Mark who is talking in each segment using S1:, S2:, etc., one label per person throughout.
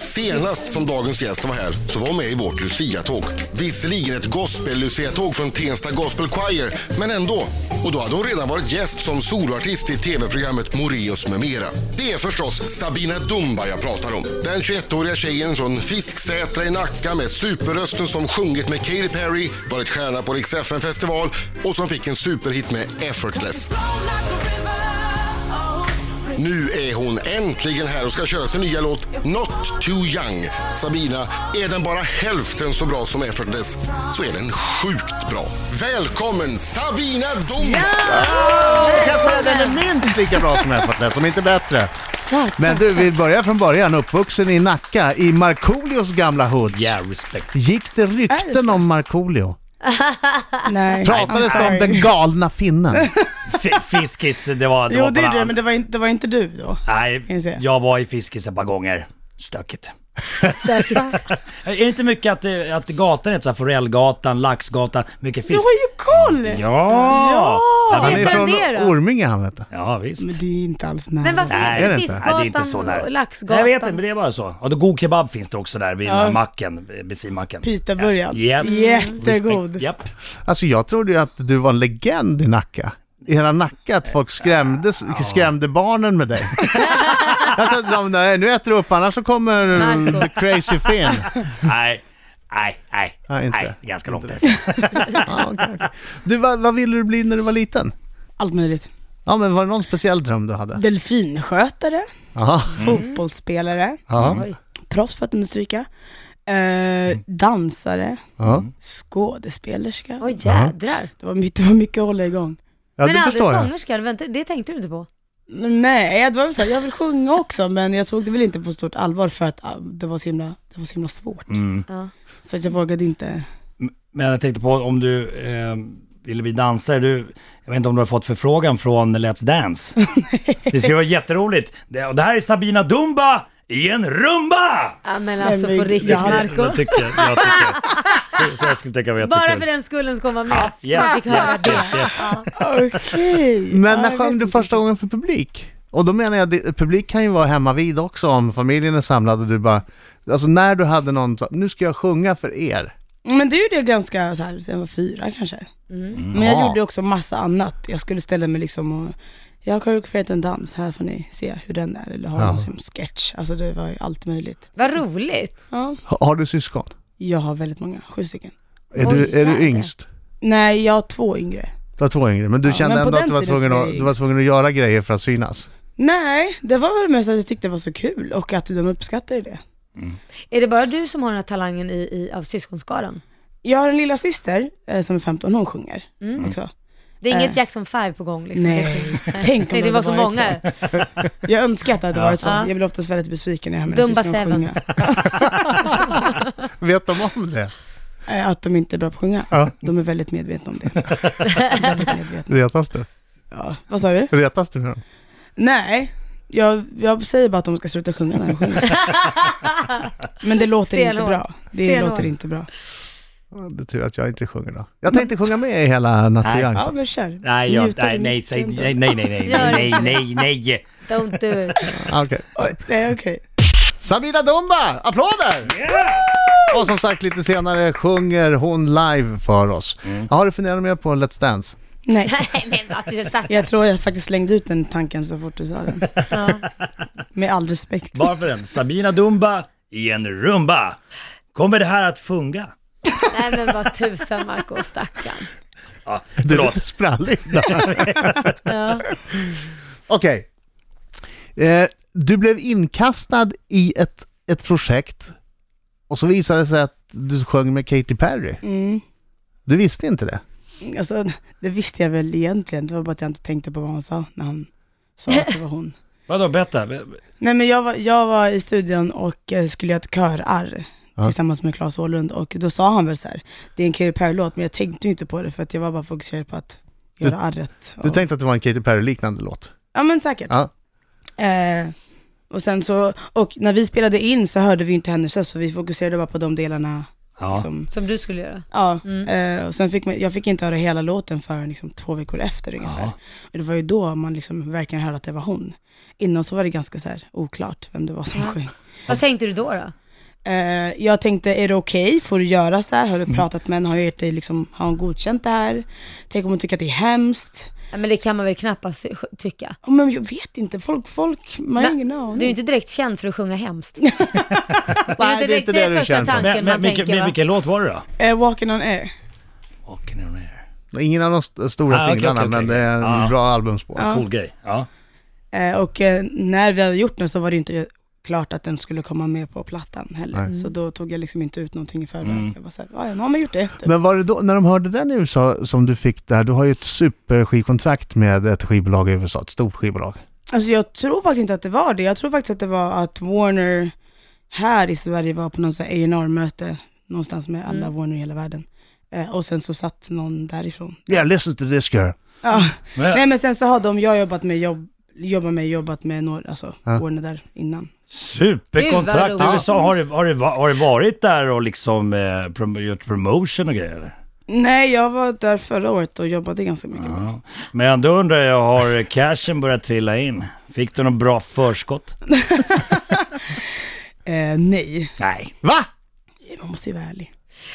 S1: Senast som dagens gäst var här så var hon med i vårt Lucia-tåg. Visserligen ett gospel-Lucia-tåg från Tensta Gospel Choir, men ändå. Och då hade hon redan varit gäst som soloartist i tv-programmet Moreus med mera. Det är förstås Sabina Dumba jag pratar om. Den 21-åriga tjejen från Fisksätra i Nacka med superrösten som sjungit med Katy Perry, varit stjärna på Rix festival och som fick en superhit med Effortless. Nu är hon äntligen här och ska köra sin nya låt Not Too Young. Sabina, är den bara hälften så bra som Effortless så är den sjukt bra. Välkommen Sabina Dumba!
S2: Jag kan säga att den är minst lika bra som Effortless, om inte bättre.
S3: Tack,
S2: Men
S3: tack,
S2: du, vi
S3: tack.
S2: börjar från början. Uppvuxen i Nacka, i Markoolios gamla hoods. Yeah, respect. Gick det
S3: Är det
S2: rykten
S3: så?
S2: om Markoolio?
S3: Nej.
S2: Pratades
S3: I'm
S2: det om
S3: sorry.
S2: den galna finnen?
S4: F- Fiskis, det var... Det
S3: Jo
S4: var
S3: det är
S4: bara-
S3: det, men det var inte, det var inte du då. Inser
S4: Nej,
S3: jag.
S4: jag var i Fiskis ett par gånger. Stökigt.
S3: Säkert.
S4: Är det inte mycket att, eh, att gatan heter så här Forellgatan, Laxgatan, mycket
S3: Du
S4: fisk?
S3: har ju koll!
S4: Ja!
S3: Ja!
S4: det
S2: Han är
S4: är...
S2: från
S5: det då?
S2: Orminge han vet du.
S4: ja visst.
S3: Men det är ju inte alls nära.
S5: Men varför
S4: Nej,
S2: är det
S5: heter
S2: inte?
S4: Nej, det är inte så
S5: Fiskgatan
S4: nära.
S5: och
S4: Nej,
S5: Laxgatan?
S4: Jag vet inte, men det är bara så. Och då god kebab finns det också där vid den här
S3: Ja.
S4: macken, eh, bensinmacken.
S3: Pitaburgaren.
S4: Ja. Yes.
S3: Jättegod.
S4: Japp.
S2: Alltså jag trodde ju att du var en legend i Nacka. I hela Nacka, att folk skrämdes, skrämde barnen med dig. alltså, som, nej, nu äter du upp, annars så kommer
S5: Marco.
S2: the crazy Finn.
S4: Nej, nej, nej.
S2: Nej, inte
S4: nej.
S2: det.
S4: Ganska långt därifrån.
S2: Ja, okej, okej. Du, vad, vad ville du bli när du var liten?
S3: Allt möjligt.
S2: Ja, men var det någon speciell dröm du hade?
S3: Delfinskötare,
S2: Jaha.
S3: Mm. fotbollsspelare,
S2: Ja.
S3: proffs för att understryka, eh, dansare,
S2: Ja.
S3: skådespelerska.
S5: Åh jädrar.
S3: Det var, mycket, det var mycket att hålla igång.
S2: ja,
S5: men
S2: det
S5: aldrig
S2: förstår jag.
S5: sångerska, vänta, det tänkte du inte på?
S3: Men Nej, det var väl så här, jag vill sjunga också men jag tog det väl inte på stort allvar för att ah, det var så himla, det var så himla svårt.
S5: Ja.
S3: Så att jag vågade inte.
S4: Men jag tänkte på om du eh, ville bli dansare. Du, jag vet inte om du har fått förfrågan från Let's Dance? det skulle vara jätteroligt. Det, och det här är Sabina Dumba i en rumba!
S5: ja men alltså
S3: men
S5: på riktigt
S3: jag hade-
S5: Marco.
S4: Jag tycker, jag tycker. Så jag skulle tänka mig
S5: Bara
S4: jättekul.
S5: för den skullen ska hon vara med. Så
S4: yes,
S5: man fick höra
S4: yes,
S5: det.
S4: yes, yes.
S5: Ja.
S3: Okej.
S2: Men när
S3: jag
S2: sjöng
S3: vet
S2: du
S3: inte.
S2: första gången för publik? Och då menar jag, det- publik kan ju vara hemma vid också om familjen är samlad och du bara... Alltså när du hade någon så, nu ska jag sjunga för er.
S3: Men det gjorde jag ganska så här, sen jag var fyra kanske. Men jag
S2: Ja.
S3: gjorde också massa annat. Jag skulle ställa mig liksom och, jag har koreograferat en dans, här får ni se hur den är. Eller ha
S2: Ja.
S3: någon som sketch. Alltså det var ju allt möjligt.
S5: Vad roligt.
S3: Ja.
S2: Ha- Har du syskon?
S3: Jag har väldigt många, sju stycken.
S2: Är,
S5: Oj,
S2: du, är
S5: jävlar.
S2: du yngst?
S3: Nej, jag har två yngre.
S2: Du har två yngre, men du
S3: Ja,
S2: kände
S3: men på
S2: ändå
S3: den
S2: att du var,
S3: tiden
S2: tvungen
S3: så
S2: att
S3: är det
S2: du var tvungen att göra grejer för att synas?
S3: Nej, det var väl mest att jag tyckte det var så kul och att de uppskattade det.
S5: Är det bara du som har den här talangen i, i, av syskonskaran?
S3: Jag har en lilla syster eh, som är 15, hon sjunger också.
S5: Det är inget
S3: Eh.
S5: Jackson 5 på gång liksom?
S3: Nej, tänk om
S5: Nej, det var så
S3: hade varit
S5: många.
S3: Så. Jag önskar att det hade varit så.
S5: Ja.
S3: Jag blir oftast väldigt besviken när jag hör mina
S5: Dumba
S3: syskon
S5: Seven.
S3: sjunga.
S2: Vet de om det?
S3: Eh, Att de inte är bra på att sjunga.
S2: Ja.
S3: De är väldigt medvetna om det. väldigt medvetna.
S2: Retas du?
S3: Ja. Vad sa du?
S2: Retas du med dem?
S3: Nej, jag, jag säger bara att de ska sluta sjunga när de sjunger. Men det låter inte
S5: Stenhårt.
S3: bra. Det
S5: Stenhårt.
S3: låter inte bra.
S2: Ja, Det är tur att jag inte sjunger då. Jag tänkte sjunga med i hela Natt
S4: Nej.
S2: till Young,
S3: Ja
S2: så.
S3: men kör.
S4: Nej, jag,
S3: Njuta
S4: nej,
S3: i
S4: nej, säg-
S3: mitten.
S4: nej, nej, nej, nej, nej, nej, nej, nej.
S5: Don't do it.
S2: Ah, Okej.
S3: Oj, Nej okej.
S2: Sabina Dumba! Applåder! Och som sagt lite senare sjunger hon live för oss. Ja, Har du funderat mer på Let's Dance?
S3: Nej.
S5: Nej men alltså det stackars.
S3: Jag tror jag faktiskt slängde ut den tanken så fort du sa den.
S5: Ja.
S3: Med all respekt.
S4: Bara för den. Sabina Dumba i en rumba. Kommer det här att funga?
S5: Nej men vad tusan Marco, stackarn.
S4: Ja,
S2: Du är lite
S4: förlåt.
S2: sprallig.
S5: Ja.
S2: Okej. Eh, du blev inkastad i ett, ett projekt och så visade det sig att du sjöng med Katy Perry.
S3: Mm.
S2: Du visste inte det?
S3: Alltså, det visste jag väl egentligen, det var bara att jag inte tänkte på vad han sa när han sa att det var hon.
S4: Vadå, berätta.
S3: Nej men jag var, jag var i studion och eh, skulle göra ett körarr
S2: Ja.
S3: tillsammans med Claes Åhlund och då sa han väl så här, det är en Katy Perry-låt men jag tänkte ju inte på det för att jag var bara fokuserad på att
S2: Du-
S3: göra arret.
S2: Du
S3: Och-
S2: tänkte att det var en Katy Perry-liknande låt?
S3: Ja men säkert.
S2: Ja.
S3: Eh, och sen så, och när vi spelade in så hörde vi ju inte hennes röst så vi fokuserade bara på de delarna
S4: Ja.
S3: liksom.
S5: Som du skulle göra.
S3: Ja, eh, och sen fick man, jag fick inte höra hela låten förrän liksom två veckor efter ungefär.
S4: Ja.
S3: Och det var ju då man liksom verkligen hörde att det var hon. Innan så var det ganska så här oklart vem det var som sjöng.
S5: Vad tänkte du då? då?
S3: Eh, jag tänkte, är det okej? Får du göra så här? Har du pratat med henne? Har, jag gett dig liksom, har hon godkänt det här? Tänk om hon tycker att det är hemskt?
S5: Ja, men det kan man väl knappast tycka.
S3: Ja, Men jag vet inte, folk, folk, man har
S5: Men
S3: ingen
S5: Du är ju
S3: aning.
S5: inte direkt känd för att sjunga hemskt. det är
S2: det är
S5: inte direkt
S2: inte
S5: det,
S2: det du är
S5: första
S2: känd för.
S5: tanken
S4: Men, men,
S5: man
S4: vilken,
S5: tänker va?
S4: vilken låt var det då?
S3: Eh, walking on air.
S4: Walking on air.
S2: Ingen av de st- stora
S4: Ah, okej,
S2: singlarna,
S4: okej,
S2: men
S4: okej.
S2: det är en
S4: Ah.
S2: bra albumspår.
S3: Ja.
S4: Cool grej. Ja.
S3: Eh, och eh, när vi hade gjort den så var det inte klart att den skulle komma med på plattan heller. Så då tog jag liksom inte ut någonting i förväg. Jag var såhär, ja, nu har man gjort det. Typ.
S2: Men var det då, när de hörde den i USA som du fick där, du har ju ett superskivkontrakt med ett skivbolag i USA, ett stort skivbolag.
S3: Alltså jag tror faktiskt inte att det var det. Jag tror faktiskt att det var att Warner här i Sverige var på någon sån här A&R-möte någonstans med alla
S2: Mm.
S3: Warner i hela världen. Eh, och sen så satt någon därifrån.
S2: Yeah, listen to this girl.
S3: Ja.
S4: Men-
S3: Nej men sen så har de, jag har jobbat med, jobb, jobbat med, jobbat med några, alltså Warner där innan.
S5: Gud, vad
S4: Superkontrakt
S5: roligt.
S4: i USA. Har du, har, du, va- har du varit där och liksom eh, prom gjort promotion och grejer eller?
S3: Nej jag var där förra året och jobbade ganska mycket med
S4: Ja. Men då undrar jag, har cashen börjat trilla in? Fick du något bra förskott?
S3: eh, Nej,
S4: Nej.
S2: Va?
S3: man måste ju vara ärlig.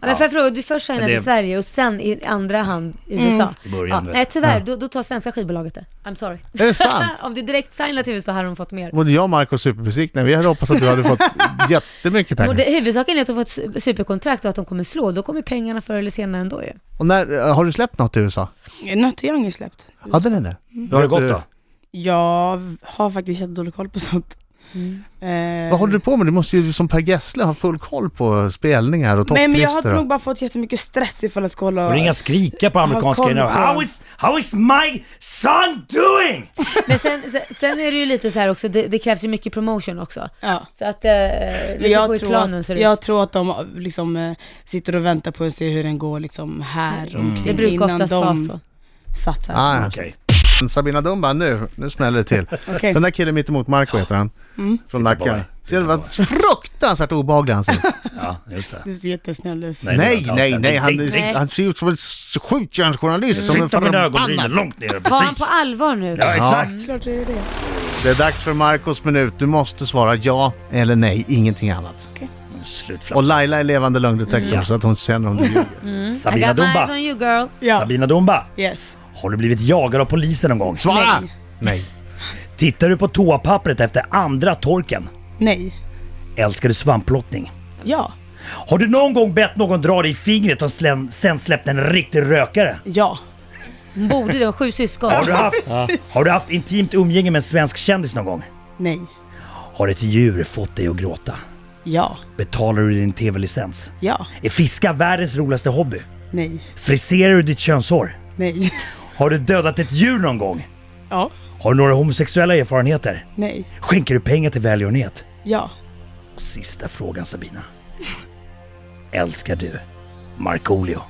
S5: Ja, men får jag fråga, du först signade
S4: Men det-
S5: i Sverige och sen i andra hand i USA?
S4: I början,
S5: ja,
S4: vet du.
S5: nej tyvärr, då, då tar svenska skivbolaget det. I'm sorry.
S2: Är det sant?
S5: Om du direkt signar till USA har de fått mer.
S2: Både jag och Marco är superbesvikna. Vi hade hoppats att du hade fått jättemycket
S5: Och
S2: pengar.
S5: det, huvudsaken är att de fått su- superkontrakt och att de kommer slå. Då kommer pengarna förr eller senare ändå ju.
S2: Och när, har du släppt något i USA?
S3: Nötter jag har ingen släppt.
S2: Hade den det?
S4: Hur har det gått då?
S3: Jag har faktiskt jättedålig koll på sånt. Eh,
S2: Mm. Vad håller du på med? Du måste ju som Per Gessle ha full koll på spelningar och
S3: Nej men jag
S2: topplistor.
S3: har nog
S2: och-
S3: bara fått jättemycket stress ifall jag ska hålla...
S4: Och ringa skrika på amerikanska
S3: koll
S4: grejer.
S3: på-
S4: How is, how is my son doing?
S5: Men sen, sen, sen är det ju lite så här också, det, det krävs ju mycket promotion också.
S3: Ja.
S5: Så att, eh,
S3: Men
S5: det går
S3: jag
S5: i
S3: tror,
S5: planen
S3: att,
S5: ser det
S3: jag
S5: ut.
S3: tror att de liksom, eh, sitter och väntar på att se hur den går liksom här omkring
S5: Mm. Det brukar
S3: innan
S5: oftast vara
S3: de
S5: så.
S3: satsar.
S2: Ah, ja.
S4: Okej.
S2: Sabina Dumba, nu, nu smäller det till.
S3: Okej. Mm.
S2: Den där killen mittemot Marco heter han. Från Nacka.
S4: bara.
S2: Ser du vad fruktansvärt obehaglig han ser ut?
S4: Ja, just det.
S3: Du ser jättesnäll ut.
S4: det var
S2: Nej,
S4: inte alls
S2: nej,
S4: det.
S2: nej. Han,
S4: Titta-
S5: Nej.
S2: han ser ut som en skjutjärnsjournalist. Som en
S4: Titta mina ögonbryn
S2: förbannad...
S4: långt ner.
S5: Var han på
S4: Precis.
S5: allvar nu?
S4: Ja, exakt.
S3: Klart det är det.
S2: Det är dags för Marcos minut. Du måste svara ja eller nej, ingenting annat. Och
S4: Slutflams.
S2: Laila är levande lögndetektor så att hon känner om du ljuger.
S5: I
S4: Sabina
S5: got my eyes
S4: Dumba.
S5: on you girl.
S3: Ja,
S4: Sabina Dumba.
S3: yes.
S4: Har du blivit jagad av polisen någon gång?
S2: Svara!
S3: Nej.
S2: Nej.
S4: Tittar du på toapappret efter andra torken?
S3: Nej.
S4: Älskar du svamplottning?
S3: Ja.
S4: Har du någon gång bett någon dra dig i fingret och slän- sen släppt en riktig rökare?
S3: Ja.
S5: Hon borde det, sju syskon.
S4: Har du, haft, har du haft intimt umgänge med en svensk kändis någon gång?
S3: Nej.
S4: Har ett djur fått dig att gråta?
S3: Ja.
S4: Betalar du din TV-licens?
S3: Ja.
S4: Är fiska världens roligaste hobby?
S3: Nej.
S4: Friserar du ditt könshår?
S3: Nej.
S4: Har du dödat ett djur någon gång?
S3: Ja.
S4: Har du några homosexuella erfarenheter?
S3: Nej.
S4: Skänker du pengar till välgörenhet?
S3: Ja.
S4: Och sista frågan Sabina. Älskar du Markoolio?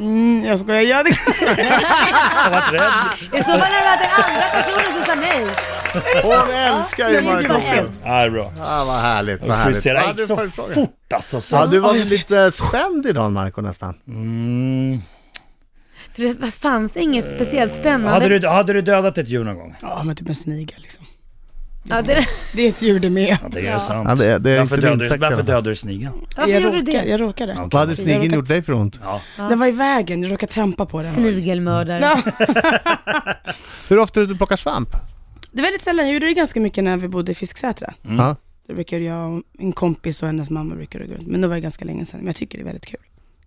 S3: Mm, jag skojar. Ja, det
S4: Jag var rädd.
S5: I så fall hade det varit andra personer som sa nej.
S2: Hon älskar ju
S5: men det
S2: Marco.
S5: är bara en.
S4: Ja, bra.
S2: Ah, vad härligt,
S4: Då
S2: vad
S4: ska vi
S2: härligt.
S4: se, det
S2: Ja,
S4: här
S2: du
S4: gick
S2: får
S4: så
S2: fråga.
S4: fort alltså. Så.
S2: Ja, du var lite spänd idag Marco nästan.
S4: Mm.
S5: För det fanns inget speciellt spännande.
S4: Hade, du, hade du dödat ett djur någon gång?
S3: Ja, men typ en snigel liksom.
S5: Ja, det...
S3: Det är ett djur det med.
S4: Ja, det är sant.
S2: Ja, det är- det är
S4: varför
S2: inte
S4: dödade,
S2: insekt i alla
S4: varför
S2: fall.
S4: dödade du snigeln?
S5: Varför
S3: jag,
S5: gjorde du
S3: råkade-
S5: det?
S3: jag råkade.
S4: Ja, okej.
S2: Vad hade
S3: Jag
S2: snigeln
S3: råkade-
S2: gjort dig för ont?
S4: Ja.
S3: Den var i vägen, jag råkade trampa på den.
S5: Snigelmördare.
S3: Ja.
S2: Hur ofta är du ute och plockar svamp?
S3: Det var lite sällan, jag gjorde det ganska mycket när vi bodde i Fisksätra.
S2: Ja.
S3: Då brukade jag och en kompis och hennes mamma brukade gå runt. Men då var det ganska länge sedan, men jag tycker det är väldigt kul.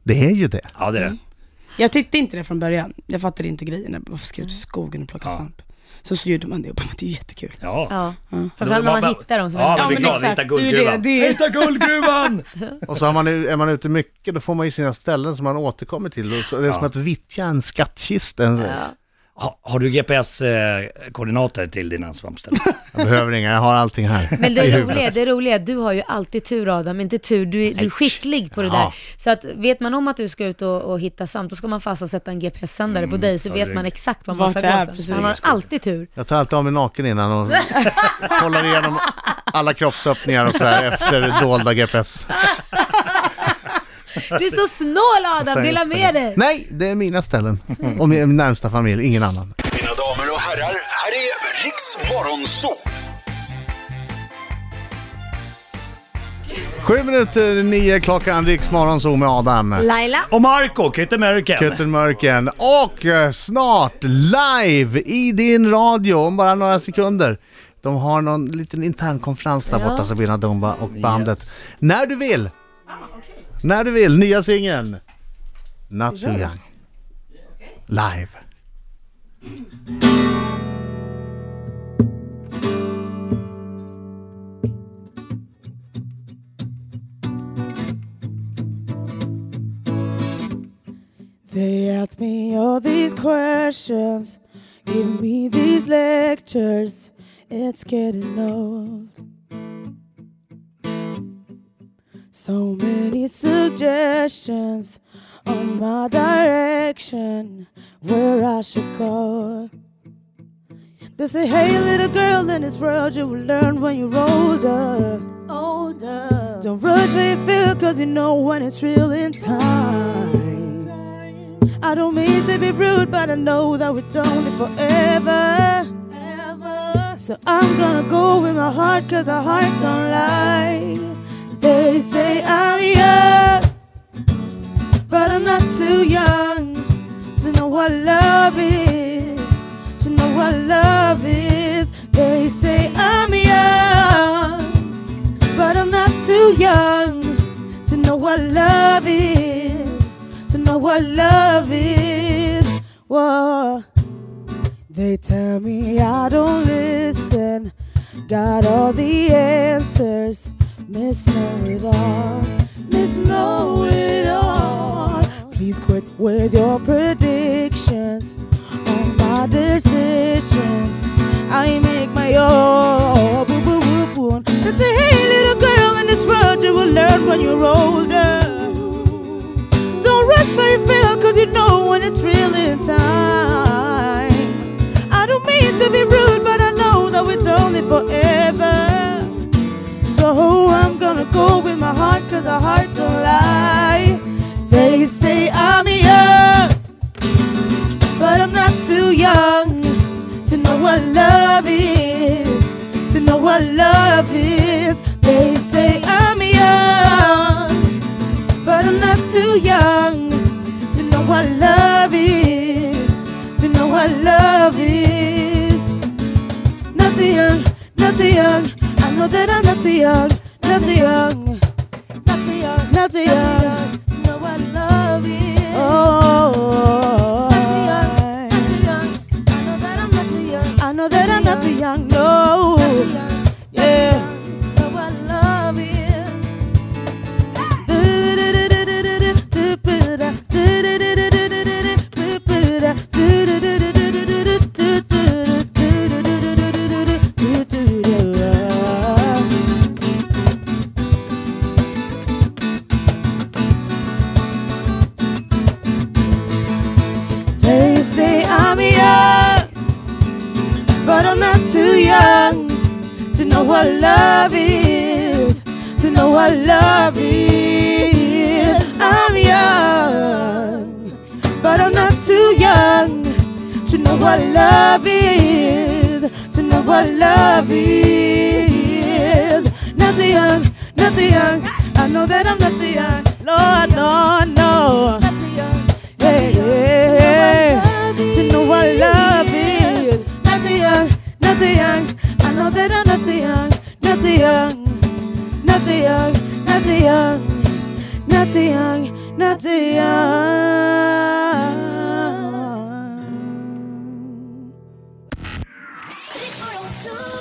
S2: Det är ju det.
S4: ja, det är det.
S3: Jag tyckte inte det från början. Jag fattade inte grejen. Jag bara, Varför ska jag ut i skogen och plocka
S4: Ja.
S3: svamp? Så, så gjorde man det och bara, men det är ju jättekul.
S4: Ja.
S5: Ja. Framförallt när man hittar dem som
S4: ja,
S5: är
S4: men
S5: bra.
S4: vi är
S3: men
S4: glada.
S3: exakt,
S4: Hitta
S3: det är ju det,
S4: guldgruvan.
S3: det är-
S4: Hitta guldgruvan!
S2: Och så har man, ju- är man ute mycket, då får man ju sina ställen som man återkommer till. Och så, det är som att vittja en skattkista. En,
S4: ha, har du GPS-koordinater eh, till dina svampställen?
S2: Jag behöver inga, jag har allting här.
S5: Men det roliga, det roliga är att du har ju alltid tur Adam, inte tur, du är, du är skicklig på det
S4: Ja.
S5: där. Så att vet man om att du ska ut och, och hitta svamp, då ska man fasta sätta en GPS-sändare på dig så
S4: ta
S5: vet
S4: rygg.
S5: man exakt var man
S3: Vart
S5: ska
S3: det är,
S5: gå.
S3: precis.
S5: för. Man har alltid tur.
S2: Jag tar alltid av mig naken innan och kollar igenom alla kroppsöppningar och sådär efter dolda GPS.
S5: Du är så snål Adam, dela med dig!
S2: Alltså, Nej, det är mina ställen. Och min närmsta familj, ingen annan.
S6: Mina damer och herrar, här är Riks Morgonzoo.
S7: Så!
S2: Sju minuter nio klockan, Riksmorgon så med Adam.
S5: Laila.
S4: Och Marco, Kit American.
S2: Kutten Mörken och eh, snart live i din radio om bara några sekunder. De har någon liten internkonferens där
S5: Ja.
S2: borta Sabina Dumba och bandet. När du vill! När du vill, nya singeln. Not too young. Live.
S6: They ask me all these questions, give me these lectures. It's getting old. So many suggestions on my direction, where I should go. They say, hey, little girl, in this world you will learn when you're older. Older. Don't rush where you feel, cause you know when it's real in time. I don't mean to be rude, but I know that we don't live forever. So I'm gonna go with my heart, cause the heart don't lie. They say I'm young, but I'm not too young to know what love is. To know what love is. They say I'm young, but I'm not too young to know what love is. To know what love is. Whoa. They tell me I don't listen. Got all the answers. Miss know it all. Miss know it all. Please quit with your predictions on my decisions. I make my own. Boo, boo, boo, boo. They say, hey, little girl, in this world you will learn when you're older. Don't rush how you feel, cause you know when it's real in time. I don't mean to be rude, but I know that we don't live forever. So I'm gonna go with my heart, cause a heart don't lie. They say I'm young, but I'm not too young to know what love is. To know what love is. They say I'm young. But I'm not too young to know what love is. To know what love is. Not too young, not too young. I know that I'm not too young, not too young. Not too young, not too young.
S8: Know what love is.
S6: Oh.
S8: Not too young, not too young. I know that I'm not too young.
S6: I know that I'm not too young, no.
S8: Too young, not too
S6: Yeah.
S8: young. Know what love is.
S6: They say I'm young, but I'm not too young to know what love is, to know what love is. I'm young, but I'm not too young to know what love is, to know what love is. Not too young, not too young. I know that I'm not too young. No, no, no.
S8: Not too young.
S6: Hey, yeah, yeah. To know what love is. Not too young, not too young. I know that I'm not too young, not too young, not too young, not too young, not too young, not too young.
S8: Six, four, oh, two.